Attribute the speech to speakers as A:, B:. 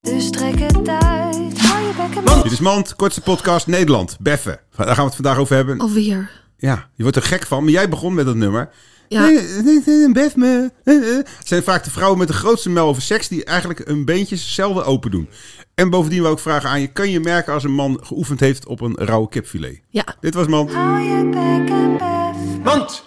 A: Dus trek het uit. Hou je bek en
B: Dit is Mand, kortste podcast Nederland. Beffen. Daar gaan we het vandaag over
C: Oh.
B: hebben.
C: Alweer.
B: Ja, je wordt er gek van, maar jij begon met dat nummer.
C: Ja.
B: Nee, nee, nee, Bef me. Eh, eh. Het zijn vaak de vrouwen met de grootste mel over seks die eigenlijk hun beentjes zelden open doen. En bovendien wil ik vragen aan je, kan je merken als een man geoefend heeft op een rauwe kipfilet?
C: Ja.
B: Dit was Mand.
A: Hou je bek en bef.
D: Mand!